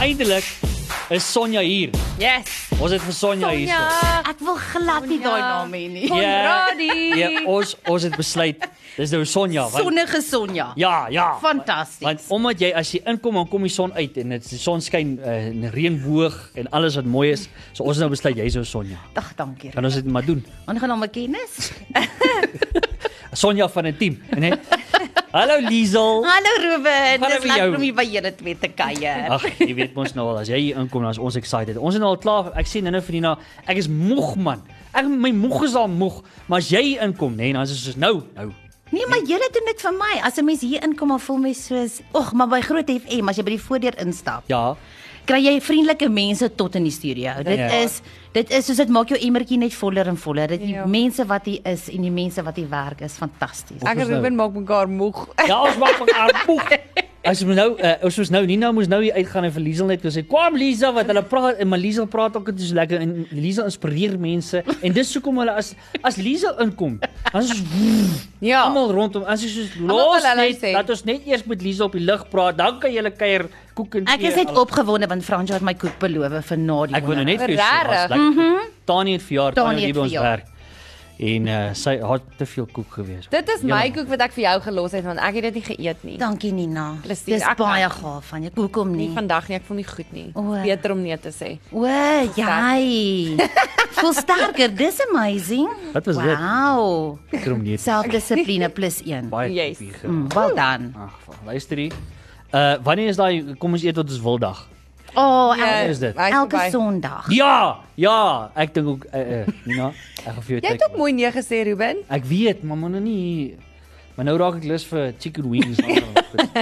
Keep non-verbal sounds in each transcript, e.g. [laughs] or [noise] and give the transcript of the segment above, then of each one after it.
uiteindelik is Sonja hier. Yes. Ons het vir Sonja Ja, hier. Sonja. Ek wil glad nie daai Sonja. naam hê nie. Konradi. [laughs] ja, ons ons het besluit dis nou Sonja. Want, Sonnige Sonja. ja, ja. Want Fantasties. omdat jy as jy inkom dan kom die son uit en dit die son skyn eh, in 'n reënboog en alles wat mooi is. So ons het nou besluit jy's nou Sonja. Ag, dankie. Kan ons dit maar doen. Aangename kennis. Sonja van 'n team, né? Hallo Liesel. Hallo Ruben, Hallo dis vir jou. lekker om hier by julle twee te kuier. Ag, jy weet mos nou al as jy hier inkom dan is ons excited. Ons is nou al klaar. Ek sien nou vir Nina, ek is moeg man. Ek my moeg is al moeg, maar as jy inkom nê, nee, dan is dit soos nou, nou. Nee, maar julle doen dit vir my. As 'n mens hier inkom, dan voel mens soos, "Ag, maar by Groot FM as jy by die voordeur instap, Ja. kry jy vriendelike mense tot in die studio. Dit Ja. is dit is soos dit maak jou emmertjie net voller en voller. Dit die mense wat hier is en die mense wat hier werk is fantasties. Ek en is nou? Ruben maak mekaar moeg. [laughs] Ja, ons maak mekaar moeg. As ons nou uh, ons moes nou Nina moes nou hier uitgaan en vir Liesel net gesê, "Kom Liesel, wat hulle praat en maar Liesel praat ook dit is lekker en Liesel inspireer mense en dis hoekom hulle as as Liesel inkom, dan is ons Ja. Almal rondom, as jy soos Almal los wil hulle net, sê. laat ons net eers met Liesel op die lig praat, dan kan julle kuier koek en Ek is tee, net alles. opgewonde want Franja het my koek beloof vir na die Ek wou nou net vir jou sê, Regtig? was Mhm. lekker. Tannie het verjaar, Tannie Tannie het het by ons verjaar. werk. En uh, sy het te veel koek gewees. Dit is my koek wat ek vir jou gelos het want ek het dit nie geëet nie. Dankie Nina. Plesier, Dis ek baie dank. gaaf van jou. Hoekom Nie nie? vandag nie, ek voel nie goed nie. O. Beter om nee te sê. O, jy. Voel sterker. Dis amazing. Wat was dit? wow. krom nie. Selfdissipline plus 1. Baie Yes. koekie ge- Mm, wel dan. Ag, luister hier. Uh wanneer is daai kom ons eet tot ons wil dag? O, oh, Wanneer el is dit? Hy is elke verby. Sondag. Ja, ja, ek dink ook uh, uh Nina, ek gaan vir jou Jy het ook mooi nee gesê Ruben. Ek weet, maar moet nou nie maar nou raak ek lus vir chicken wings. [laughs]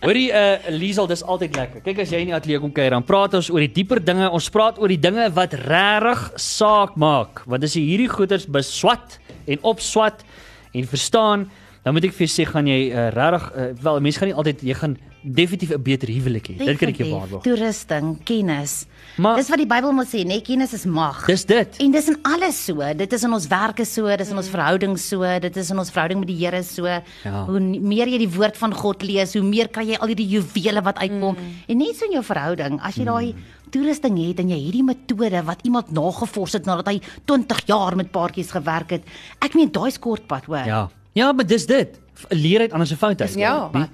Hoorie eh uh, Liesel, dis altyd lekker. Kyk as jy in die ateljee kom kuier, dan praat ons oor die dieper dinge. Ons praat oor die dinge wat regtig saak maak. Want as jy hierdie goeters beswat en opswat en verstaan, dan moet ek vir jou sê gaan jy uh, regtig uh, wel mense gaan nie altyd jy gaan definitief 'n beter huwelik hê. Dit kan ek jou Definitief. waarborg. Toerusting, kennis. Maar- Dis wat die Bybel moet sê, né? Kennis is mag. Dis dit. En dis in alles so. Dit is in ons werke so, dis in ons verhoudings so, dit is in ons verhouding met die Here so. Mm. Ja. Hoe n- meer jy die woord van God lees, hoe meer kry jy al hierdie juwele wat uitkom. Mm. En net so in jou verhouding, as jy daai toerusting het en jy hierdie metode wat iemand nagevors het nadat hy 20 jaar met paartjies gewerk het. Ek meen daai is kort pad, hoor. Ja. Ja, maar dis dit. Leer uit anders se fout uit. Ja. nie?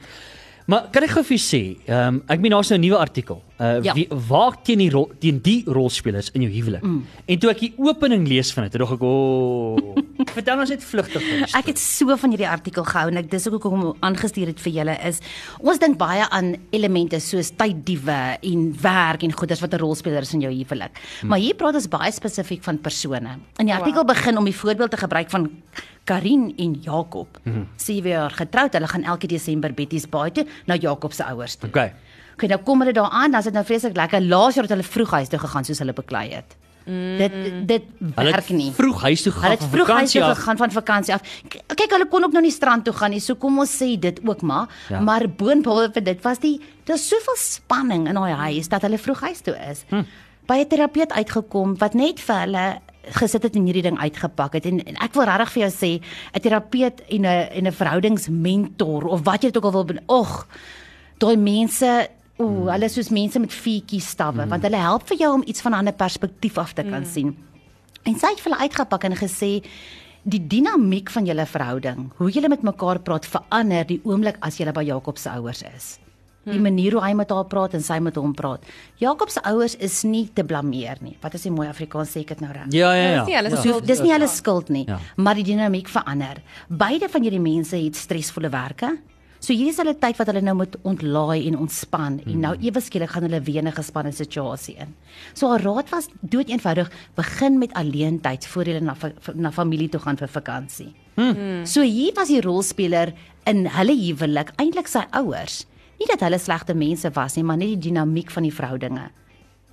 Maar kan ek gou vir jou sê, ehm um, ek meen daar's nou 'n nuwe artikel. Uh ja. Ja. wie waak teen die rol, teen die rolspelers in jou huwelik. Mm. En toe ek die opening lees van dit, toe dog ek, "O." [laughs] Oh, vertel ons net vlugtig van die Ek het so van hierdie artikel gehou en ek dis ook hoekom ek hom aangestuur het vir julle is ons dink baie aan elemente soos tyddiewe en werk en goeders wat 'n rol speel is in jou huwelik. Hmm. Maar hier praat ons baie spesifiek van persone. In die artikel begin om die voorbeeld te gebruik van Karin en Jakob. Hmm. 7 jaar getroud, hulle gaan elke Desember Betty's Baai toe na Jakob se ouers toe. storie. Okay. Okay, nou kom hulle daar aan, dan is dit nou vreeslik lekker. Laas jaar het hulle vroeg huis toe gegaan soos hulle beklei het. Dit dit Hulle werk nie. het vroeg huis toe gegaan. Hulle het van vroeg huis toe vakansie af. gegaan van vakansie af. K- Kyk, hulle kon ook nou nie strand toe gaan nie. So kom ons sê dit ook maar, Ja. ja. maar boonbehalwe dit was die daar's soveel spanning in daai huis dat hulle vroeg huis toe is. Hm. By 'n terapeut uitgekom wat net vir hulle gesit het en hierdie ding uitgepak het en, en ek wil regtig vir jou sê 'n terapeut en 'n en 'n verhoudingsmentor of wat jy dit ook al wil ben- och daai mense ooh hulle is soos mense met vuurtjie stawwe mm. want hulle help vir jou om iets van 'n ander perspektief af te kan mm. sien En sy het vir hulle uitgepak en gesê die dinamiek van julle verhouding, hoe julle met mekaar praat verander die oomblik as julle by Jakob se ouers is. Die manier hoe hy met haar praat en sy met hom praat. Jakob se ouers is nie te blameer nie. Wat is die mooi Afrikaans sê ek dit nou reg? Ja, ja, ja. Dis nie hulle ja. se Dis nie hulle skuld nie, Ja. ja. maar die dinamiek verander. Beide van hierdie mense het stresvolle werke. So hier is hulle tyd wat hulle nou moet ontlaai en ontspan en nou Hmm. ewe skielik gaan hulle weer in 'n gespanne situasie in. So haar raad was dood eenvoudig, begin met alleen tyd voor jy na fa- na familie toe gaan vir vakansie. Hmm. So hier was die rolspeler in hulle huwelik eintlik sy ouers. Nie dat hulle slegte mense was nie, maar net die dinamiek van die verhoudinge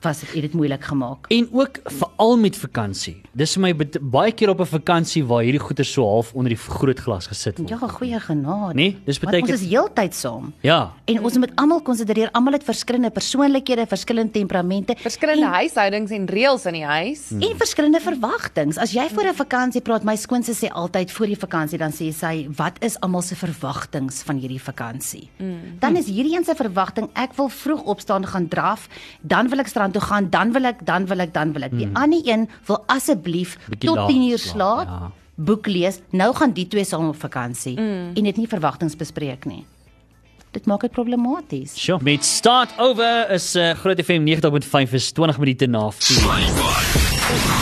was dit het dit moeilik gemaak. En ook veral met vakansie. Dis vir my bet- baie keer op 'n vakansie waar hierdie goeie so half onder die vergrootglas gesit word. Ja, goeie genade. Nee, dis Want beteken- ons is heeltyd saam. Ja. En ons moet almal konsidereer, almal het verskillende persoonlikhede, verskillende temperamente, Verskillende huishoudings en reëls in die huis. Hmm. En verskillende verwagtinge. As jy voor 'n vakansie praat, my skoonse sê altyd voor die vakansie dan sê sy, "Wat is almal se verwagtinge van hierdie vakansie?" Mm. Hmm. Dan is hierdie een se verwagting, ek wil vroeg opstaan, gaan draf, dan wil ek strand toe gaan, dan wil ek, dan wil ek, dan wil ek. Die ander een wil asseblief Hmm. Bietjie tot laat 10 uur slaap, slaap, ja. boek lees. Nou gaan die twee saam op vakansie en dit nie verwagtinge bespreek nie. Dit maak dit problematies. Sjoe. Met Start Over is uh, Groot FM 90.5 is 20 minute na 4.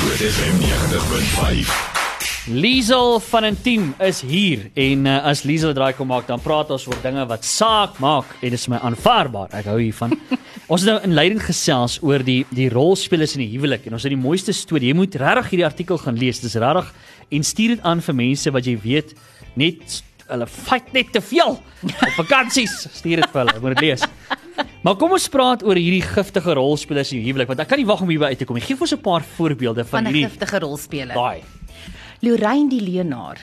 Dit is FM 90.5. Liesel van 'n team is hier en uh, as Liesel draai kom maak dan praat ons oor dinge wat saak maak en dit is my aanvaarbaar. Ek hou [laughs] hiervan. ons het nou in leiding gesels oor die die rolspelers in die huwelik en ons het die mooiste storie. Jy moet regtig hierdie artikel gaan lees. Dis regtig en stuur dit aan vir mense wat jy weet net hulle fight net te veel op [laughs] vakansies. Stuur dit vir hulle. Ek moet dit lees. Maar kom ons praat oor hierdie giftige rolspelers in die huwelik want ek kan nie wag om hierby uit te kom nie. Geef ons 'n paar voorbeelde van, Van 'n hierdie giftige rolspeler. daai. Lorraine die Leonaar.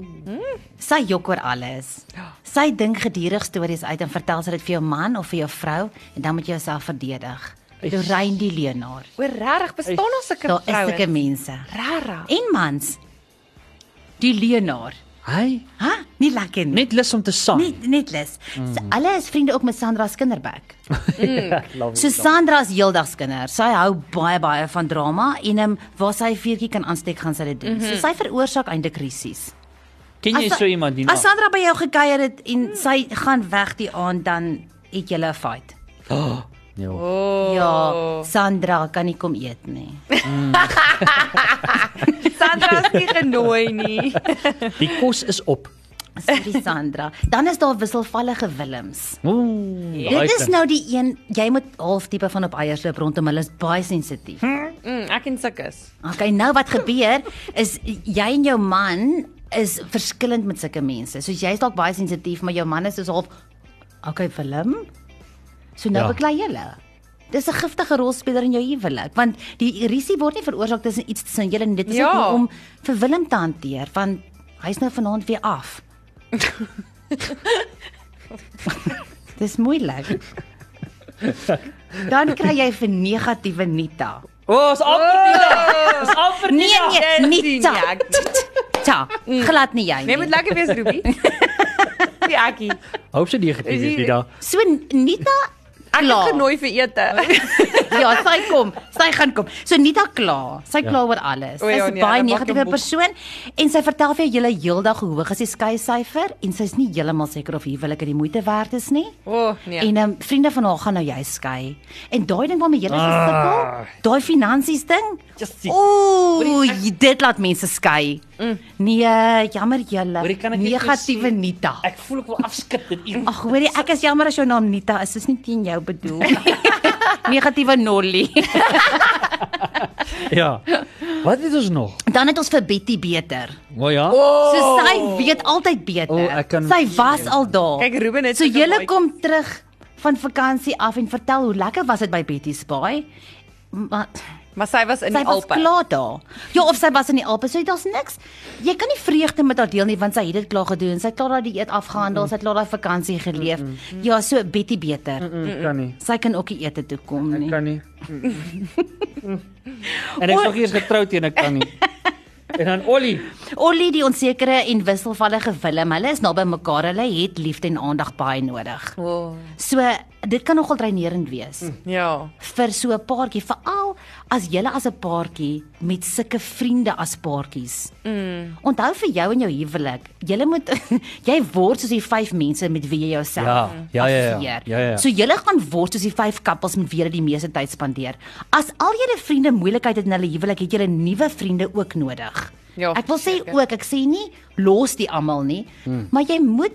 Ooh. Ja. Sy jok oor alles. Sy dink gedurig stories uit en vertel sy dit vir jou man of vir jou vrou en dan moet jy jouself verdedig. Eish. Lorraine die leienaar. Oor regtig bestaan ons sulke Daar is sulke vrouens? mense Regtig. en mans. Die leienaar. Hy Ha, nie lekker nie. Net Hmm. lus om te sang. [laughs] Net net les. Mm. Hulle is vriende ook met Sandra se kinderbuik. Love So it. Sandra is heeldagskinder. Sy hou baie baie van drama en um, waar sy 'n vuurtjie kan aansteek, gaan sy dit doen. Mm -hmm. So sy veroorsaak eintlik krisis. Ken jy As- so iemand nie? As Sandra by jou gekuier het en sy gaan weg die aand dan het julle 'n fight. Ja. Oh. Ja, Sandra kan nie kom eet nie. Sandra is nie genooi [laughs] nie. Die kos is op. Sorry Sandra. Dan is daar wisselvallige Willems. Ooh. Dit is nou die een, jy moet half tipe van op eiers loop rondom hulle is baie sensitief. Mm, ek en sukkes. Okay, nou wat gebeur is jy en jou man is verskillend met sulke mense. So jy's dalk baie sensitief, maar jou man is soos half okay, film. So nou Ja. ja. beklei julle. Dis 'n giftige rolspeler in jou huwelik, want die risie word nie veroorsaak tussen iets tussen julle en dit is Ja. ja. nie om vir Willem te hanteer want hy's nou vanaand weer af. Dis moeilik. Dan kry jy vir negatiewe Nita. Oh, is Albertina. Is Albertina. Nee nee, Dit nie sien ta. jy, ek Ta. Glad nie jy. Nee, moet nie. lekker wees, [laughs] Ruby. Die ekkie. Hoop sy negatief nou- is nie daar. So Nita Ek is klaar. genooi vir ete. [laughs] Ja, sy kom. Sy gaan kom. So Nita klaar. Sy kla oor alles. O ja, Sy's 'n nee, baie dan maak jy negatiewe mop. persoon en sy vertel vir jou julle heeldag hoe hoog is die skei syfer en sy's nie heeltemal seker of huwelik dit die moeite werd is nie. O, oh, nee. En um, vriende van haar gaan nou jy skei. En daai ding waarmee jy gesukkel, daai finansies ding. Just die- Ooh, dit laat mense skei. Nee, jammer Hoor, jy julle. kan ek net jou Negatiewe sê- Nita. Ek voel ek wil afskud dit hier. Ag hoorie, ek is jammer as jou naam Nita is, dis nie teen jou bedoel. Negatiewe Nolly. Ja. [laughs] Wat het ons nog? Dan het ons vir Betty beter. O ja. Oh. So sy weet altyd beter. O, Oh, ek kan- Sy was al daar. Kyk, Ruben het So sulke julle baie- kom terug van vakansie af en vertel hoe lekker was dit by Betty se baai. Maar Maar sy was in sy die was Alpe. klaar daar. Ja, of sy was in die Alpe, so daar's niks. Jy kan nie vreugde met haar deel nie want sy het dit klaar gedoen. Sy het klaar daai dieet afgehandel, sy het klaar daai vakansie geleef. Ja, so Betty beter. Mm, Kan nie. Sy kan ook nie ete toe kom nie. nie. Mm. en ek O- sê ek is getroud teen ek kan nie. [laughs] En dan Ollie. Ollie die onsekere en wisselvallige Willem, hulle is naby mekaar. Hulle het liefde en aandag baie nodig. O, oh, So dit kan nogal dreinerend wees ja. vir so 'n paartjie, veral as jy as 'n paartjie met sulke vriende as paartjies. Mm. Onthou vir jou en jou huwelik, jy moet [laughs] jy word soos die vyf mense met wie jy jouself Ja, ja, ja, ja. assosieer. Ja, ja, ja. So julle gaan word soos die vyf koppels met wie jy die meeste tyd spandeer. As al julle vriende moeilikheid het in hulle huwelik, het julle nuwe vriende ook nodig. Ja, ek wil sê ook, ek sê nie los die almal nie, mm. maar jy moet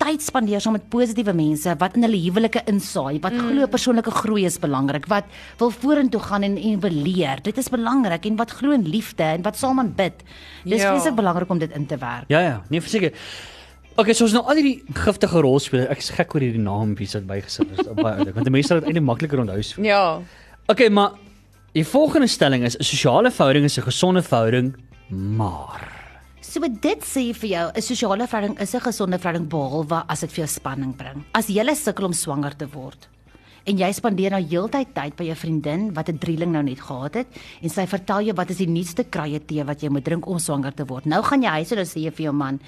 tyd spandeer saam met positiewe mense wat in hulle huwelike insaai, wat mm. glo persoonlike groei is belangrik, wat wil vorentoe gaan en en wil leer. Dit is belangrik en wat glo in liefde en wat saam aanbid. Dis Ja. vreeslik belangrik om dit in te werk. Ja ja, nee verseker. Okay, so ons nou al hierdie giftige rolspelers. Ek is gek oor hierdie naampjes wat bygesit is. Baie oulik, Want die mense sal dit eintlik makliker onthou. so. Ja. Okay, maar die volgende stelling is 'n sosiale verhouding is 'n gesonde verhouding, maar So dit sê vir jou, 'n sosiale verhouding is 'n gesonde verhouding behalwe as dit vir jou spanning bring. As jy sukkel om swanger te word en jy spandeer nou heeltyd tyd by jou vriendin wat 'n drieling nou net gehad het en sy vertel jou wat is die nuutste kruie tee wat jy moet drink om swanger te word. Nou gaan jy huis toe en dan sê jy vir jou man,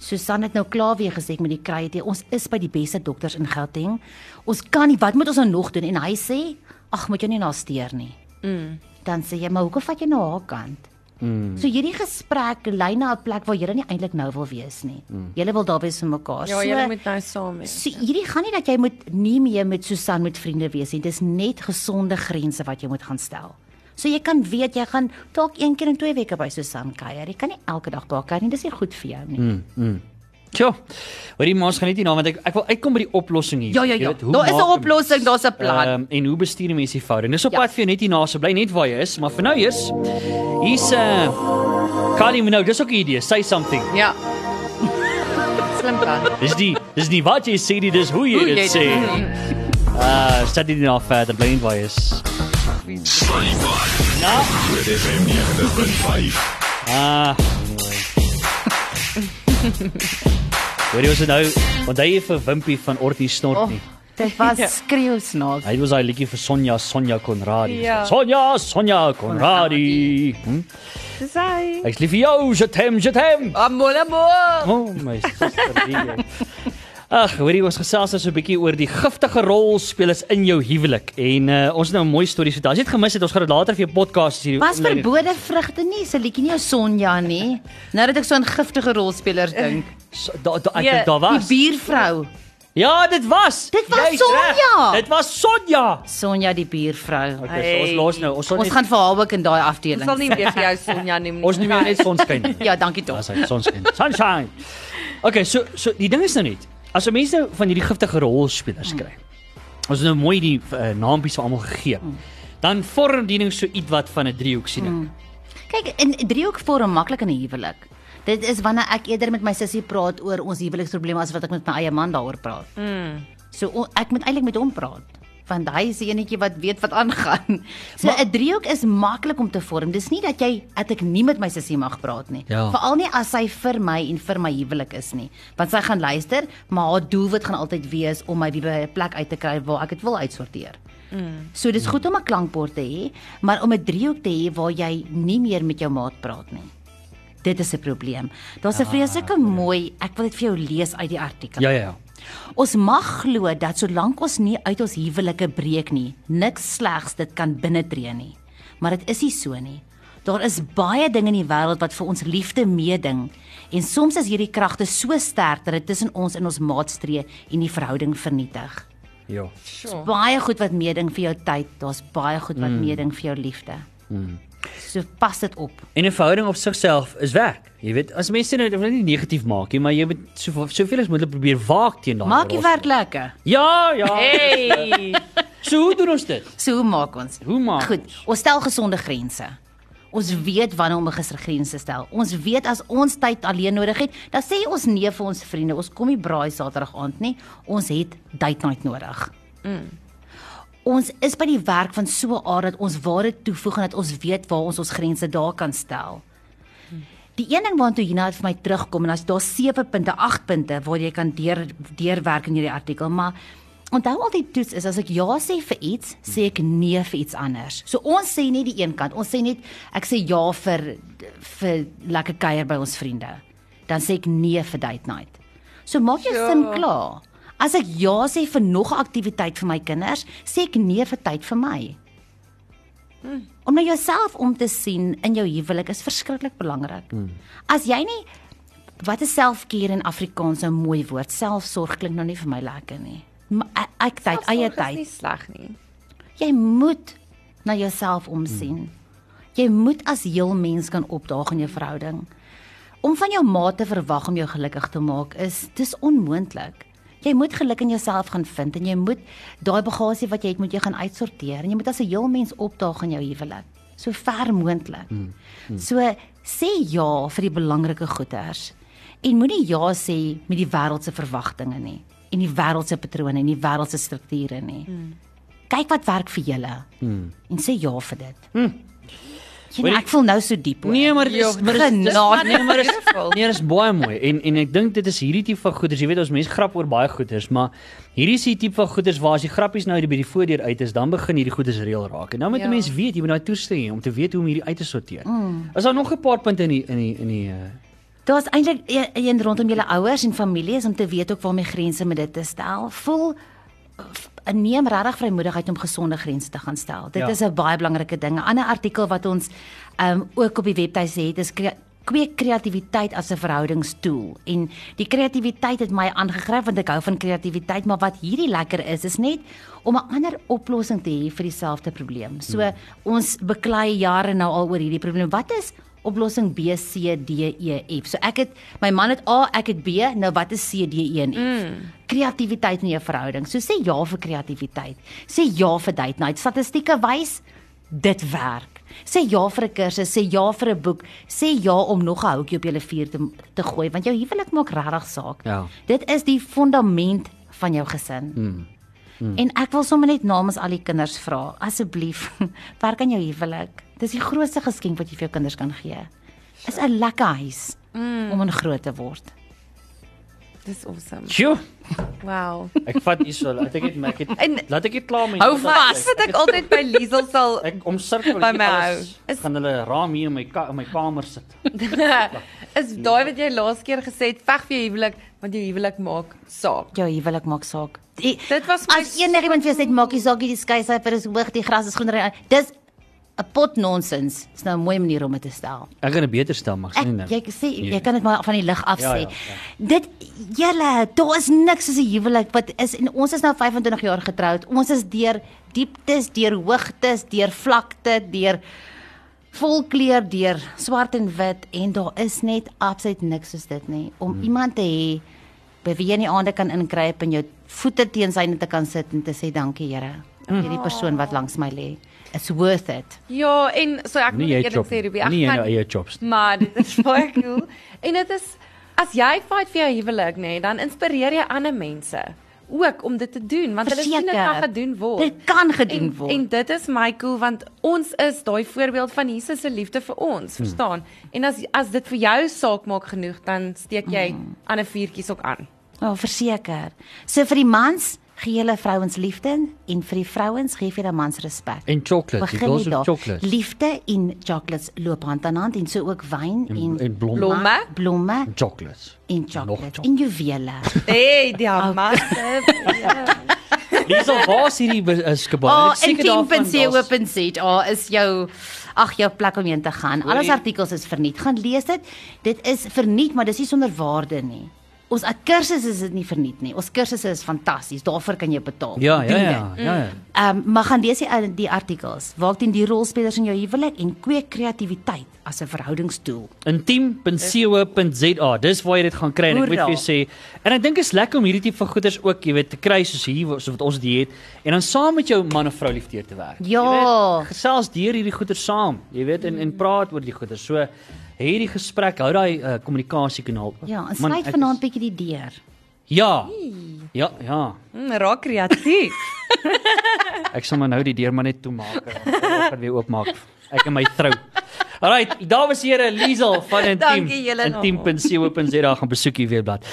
Susan het nou klaar weer gesê ek met die kruie tee. Ons is by die beste dokters in Gauteng. Ons kan nie, wat moet ons nou nog doen? En hy sê, "Ag, moet jou nie na steur nie." Mm. Dan sê jy, "Maar hoekom vat jy na haar kant?" Mm. So hierdie gesprek lei na 'n plek waar julle nie eintlik nou wil wees nie. Mm. Julle wil daar wees vir mekaar. Ja, so, jy moet nou saam wees. So hierdie gaan nie dat jy moet nie meer met Susan met vriende wees nie. Dis net gesonde grense wat jy moet gaan stel. So jy kan weet jy gaan dalk een keer in 2 weke by Susan kuier. Jy kan nie elke dag by haar kuier nie. Dis nie goed vir jou nie. Mm. Tjoh. Hoorie, maar ons gaan net hierna want ek ek wil uitkom by die oplossing hier. Ja ja Jy ja. weet, hoe Daar is 'n maak 'n oplossing, daar's 'n plan. Ehm um, en hoe bestuur 'n mens die verhouding? Dis op Ja. pad vir jou net hierna, so bly net waar jy is, maar vir nou eers hier's 'n uh, Kali Minogue, dis ook 'n idee, say something. Ja. [laughs] Slim plan. Dis die dis nie wat jy sê nie, dis hoe jy Hoe dit jy sê. dit Ah, uh, sit dit nou verder, bly net waar jy is. Nou, Groot FM 90.5. ah. Hoor jy ons het nou? Want hy vir Wimpy van Ortie snort nie. Dit was skreeu snaaks. Hy was hy liedjie vir Sonja Sonja Konradi. Ja. Sonja Sonja Konradi. Hm? Dis hy. Ah, Ek's lief vir jou, Jetem Jetem. Amor, amor. O, oh, my suster. Ag, hoorie ons gesels nou so 'n bietjie oor die giftige rolspelers in jou huwelik. En uh, ons het nou 'n mooi storie so. As jy dit gemis het, ons gaan dit later vir jou podcast hierdie Was verbode vrugte nie, se liedjie nie jou Sonja nie. Nou dat ek so aan giftige rolspelers dink. So, da, da, ek Ja, dink daar Die was. buurvrou. Ja, dit was. Dit was Jy's reg. Sonja. Dit was Sonja. Sonja die buurvrou. Okay, so ons Hey. los nou. Ons sal Ons net gaan vir haar ook in daai Ons sal afdeling. nie weer vir jou Sonja noem nie. ons neem [laughs] net sonskyn. nie. [laughs] Ja, dankie tog. Daar's hy, sonskyn. Sunshine. Okay, so so die ding is nou net. As jy mense nou van hierdie giftige rolspelers kry. Ons het nou mooi die uh, naampies vir almal gegee. Mm. Dan vorm die ding so ietwat van 'n driehoek sien ek. Kyk, in driehoek vorm maklik in 'n huwelik. Dit is wanneer ek eerder met my sussie praat oor ons huweliksprobleme as wat ek met my eie man daaroor praat. Mm. So o- ek moet eintlik met hom praat want hy is die enetjie wat weet wat aangaan. So 'n driehoek is maklik om te vorm. Dis nie dat jy dat ek nie met my sussie mag praat nie. Ja. Veral nie as sy vir my en vir my huwelik is nie. Want sy gaan luister, maar haar doelwit gaan altyd wees om my weer by 'n plek uit te kry waar ek dit wil uitsorteer. So dis goed om 'n klankbord te hê, maar om 'n driehoek te hê waar jy nie meer met jou maat praat nie. Dit is 'n probleem. Daar's 'n vreeslike mooi, ek wil dit vir jou lees uit die artikel. Ja ja ja. Ons mag glo dat solank ons nie uit ons huwelike breek nie, niks slegs dit kan binnetree nie. Maar dit is nie so nie. Daar is baie dinge in die wêreld wat vir ons liefde meeding en soms is hierdie kragte so sterk dat dit tussen ons en ons maat stree en die verhouding vernietig. Ja. Sure. Baie goed wat meeding vir jou tyd, daar's baie goed wat mm. meeding vir jou liefde. Mm. So pas dit op. En 'n verhouding op sigself is werk. Jy weet, as mense nou dit wil nie negatief maak nie, maar jy moet soveel soveel as moontlik probeer waak teen daai. Maak die rolspelers. werk lekker. Ja, ja. Hey. [laughs] So hoe doen ons dit? So hoe maak ons? Hoe maak Goed, ons? ons stel gesonde grense. Ons weet wanneer om 'n ges- grens te stel. Ons weet as ons tyd alleen nodig het, dan sê ons nee vir ons vriende. Ons kom nie braai Saterdag aand nie. Ons het date night nodig. Ons is by die werk van so 'n aard dat ons waarde toevoeg en dat ons weet waar ons ons grense daar kan stel. Die een ding waartoe Hina het vir my terugkom en as daar 7 punte, 8 punte waar jy kan deur deurwerk in hierdie artikel, maar onthou altyd toets is as ek ja sê vir iets, sê ek nee vir iets anders. So ons sê nie die een kant, ons sê net ek sê ja vir vir lekker kuier by ons vriende. Dan sê ek nee vir date night. So maak jou Ja. sin klaar. As ek ja sê vir nog 'n aktiwiteit vir my kinders, sê ek nee vir tyd vir my. Om na jouself om te sien in jou huwelik is verskriklik belangrik. Mm. As jy nie wat is selfcare in Afrikaans 'n mooi woord. Selfsorg klink nou nie vir my lekker nie. Maar ek, ek tyd, eie Sorg is Nie tyd. sleg nie. Jy moet na jouself omsien. Mm. Jy moet as heel mens kan opdaag in jou verhouding. Om van jou maat te verwag om jou gelukkig te maak is dis onmoontlik. Jy moet geluk in jouself gaan vind en jy moet daai bagasie wat jy het moet jy gaan uitsorteer en jy moet as 'n heel mens opdaag in jou huwelik so ver moontlik. Mm, mm. So sê ja vir die belangrike goeders en moenie ja sê met die wêreld se verwagtinge nie en die wêreld se patrone en die wêreld se strukture nie. Mm. kyk wat werk vir julle hmm. en sê ja vir dit. Hmm. Hoorie- Sien, ek voel nou so diep hoor. Nee, maar dit is Joh, maar dit is- dit is genade. nee, maar dit is Beautiful. nee, dit is baie mooi en en ek dink dit is hierdie tipe van goeders. Jy weet ons mense grap oor baie goeders, maar hierdie is die tipe van goeders waar as die grappies nou by die voordeur uit is, dan begin hierdie goeders reël raak. En nou moet 'n Ja. mens weet, jy moet daai toestemming hê om te weet hoe om hierdie uit te sorteer. Mm. Is daar nog 'n paar punte in die in die in die uh, Daar's eintlik e- een rondom julle ouers en familie is om te weet ook waar my grense met dit te stel. Voel f- neem regtig vrymoedigheid om gesonde grense te gaan stel. Dit Ja. ja. is 'n baie belangrike ding. 'n Ander artikel wat ons um ook op die webtuiste het is kre- kweek kreatiwiteit as 'n verhoudingstool. En die kreatiwiteit het my aangegryp want ek hou van kreatiwiteit, maar wat hierdie lekker is is net om 'n ander oplossing te hê vir dieselfde probleem. So hmm. ons beklei jare nou al oor hierdie probleem. Wat is oplossing B C D E F. So ek het my man het A, ek het B, nou wat is C D E en F? Mm. Kreatiwiteit in jou verhouding. So sê ja vir kreatiwiteit. Sê ja vir date night. Statistieke wys dit werk. Sê ja vir 'n kursus, sê ja vir 'n boek, sê ja om nog 'n houtjie op jou vuur te te gooi want jou huwelik maak regtig saak. Ja. Dit is die fondament van jou gesin. Mm. Hmm. Mm. En ek wil sommer net namens al die kinders vra, asseblief, [laughs] werk aan jou huwelik. Dis die grootste geskenk wat jy vir jou kinders kan gee. Is 'n lekker huis Hmm. mm. om in groot te word. Dis awesome. Sjoe. [laughs] Wow. Ek vat hierso. Laat ek dit maak dit. En- Laat ek dit klaar maak. Hou vas. Wat ek altyd by Liesel sal Ek omsirkel By my alles. hou. Is- gaan hulle raam hier in my ka, in my kamer sit. [laughs] is daai wat jy laas keer gesê het, veg vir jou huwelik, want jou huwelik maak saak. Jou huwelik maak saak. Die, Dit was my as enigiemand vir jou sê maak nie saak nie, die skeisyfer is hoog, die gras is groener. Dis 'n pot nonsens. Dis nou 'n mooi manier om dit te stel. Ek kan dit beter stel, maar ek sê Ek nou. jy sê Nee. jy kan dit maar van die lig af Ja, sê. ja, Ja, ja, ja. Dit julle, daar is niks soos 'n huwelik wat is en ons is nou 25 jaar getroud. Ons is deur dieptes, deur hoogtes, deur vlakte, deur volkleur, deur swart en wit en daar is net absoluut niks soos dit nie. Om hmm. iemand te hê by wie jy in die aande kan inkruip en jou voete teen syne te kan sit en te sê dankie Here vir hierdie persoon wat langs my lê. It's worth it. Ja, en so ek Nie moet jy eerlik chop. sê Ruby, ek Nie jy kan nou eie chops. Maar dit is baie cool. en dit is as jy fight vir jou huwelik, nê, nee, dan inspireer jy ander mense ook om dit te doen want hulle sien dit Verseker. kan gedoen word. Dit kan gedoen en, word. En dit is my cool want ons is daai voorbeeld van Jesus se liefde vir ons, Hmm. verstaan? En as as dit vir jou saak maak genoeg, dan steek jy Hmm. ander vuurtjies ook aan. Ja, oh, verseker. So vir die mans gee julle vrouens liefde en vir die vrouens gee vir die mans respek. En chocolate, die Begin girls nie with daar. chocolate. Liefde en chocolates loop hand aan hand en so ook wyn en En blom Blom. blomme. blomme chocolates. en chocolates en juwele. Hey, [laughs] diamante. Dis al waar's hierdie be- eh, is gebaar. Ah, Oh, en 10.co.za oh, is jou ag jou plek om heen te gaan. Al ons Hoorie. artikels is verniet. Gaan lees dit. Dit is verniet, maar dis nie sonder waarde nie. Ons a- kursus is dit nie verniet nie. Ons kursusse is fantasties. Daarvoor kan jy betaal. Ja, ja, Doen dit. ja, ja. ja. Ehm um, maar gaan lees die, die artikels. Waak teen die rolspelers in jou huwelik en kweek kreatiwiteit as 'n verhoudingsdoel. intiem.co.za. Dis waar jy dit gaan kry en ek moet vir jou sê. En ek dink is lekker om hierdie tipe van goeders ook, jy weet, te kry soos hier so wat ons dit het en dan saam met jou man of vrou liefdeur te werk. Jy Ja. weet, Gesels deur hierdie goeders saam, jy weet, en en praat oor die goeders. So hierdie gesprek hou daai eh, kommunikasiekanaal. Uh, Ja, en sluit vanaand bietjie die deur. Ja. Ja, ja. Mm, Raak kreatief. Ek sal maar nou die deur maar net toemaak. Ek gaan weer oopmaak. Ek en my trou. Alrite, dames en here, Liesel van Intiem. [laughs] Dankie julle nog. Intiem.co.za gaan besoek hier weer blad.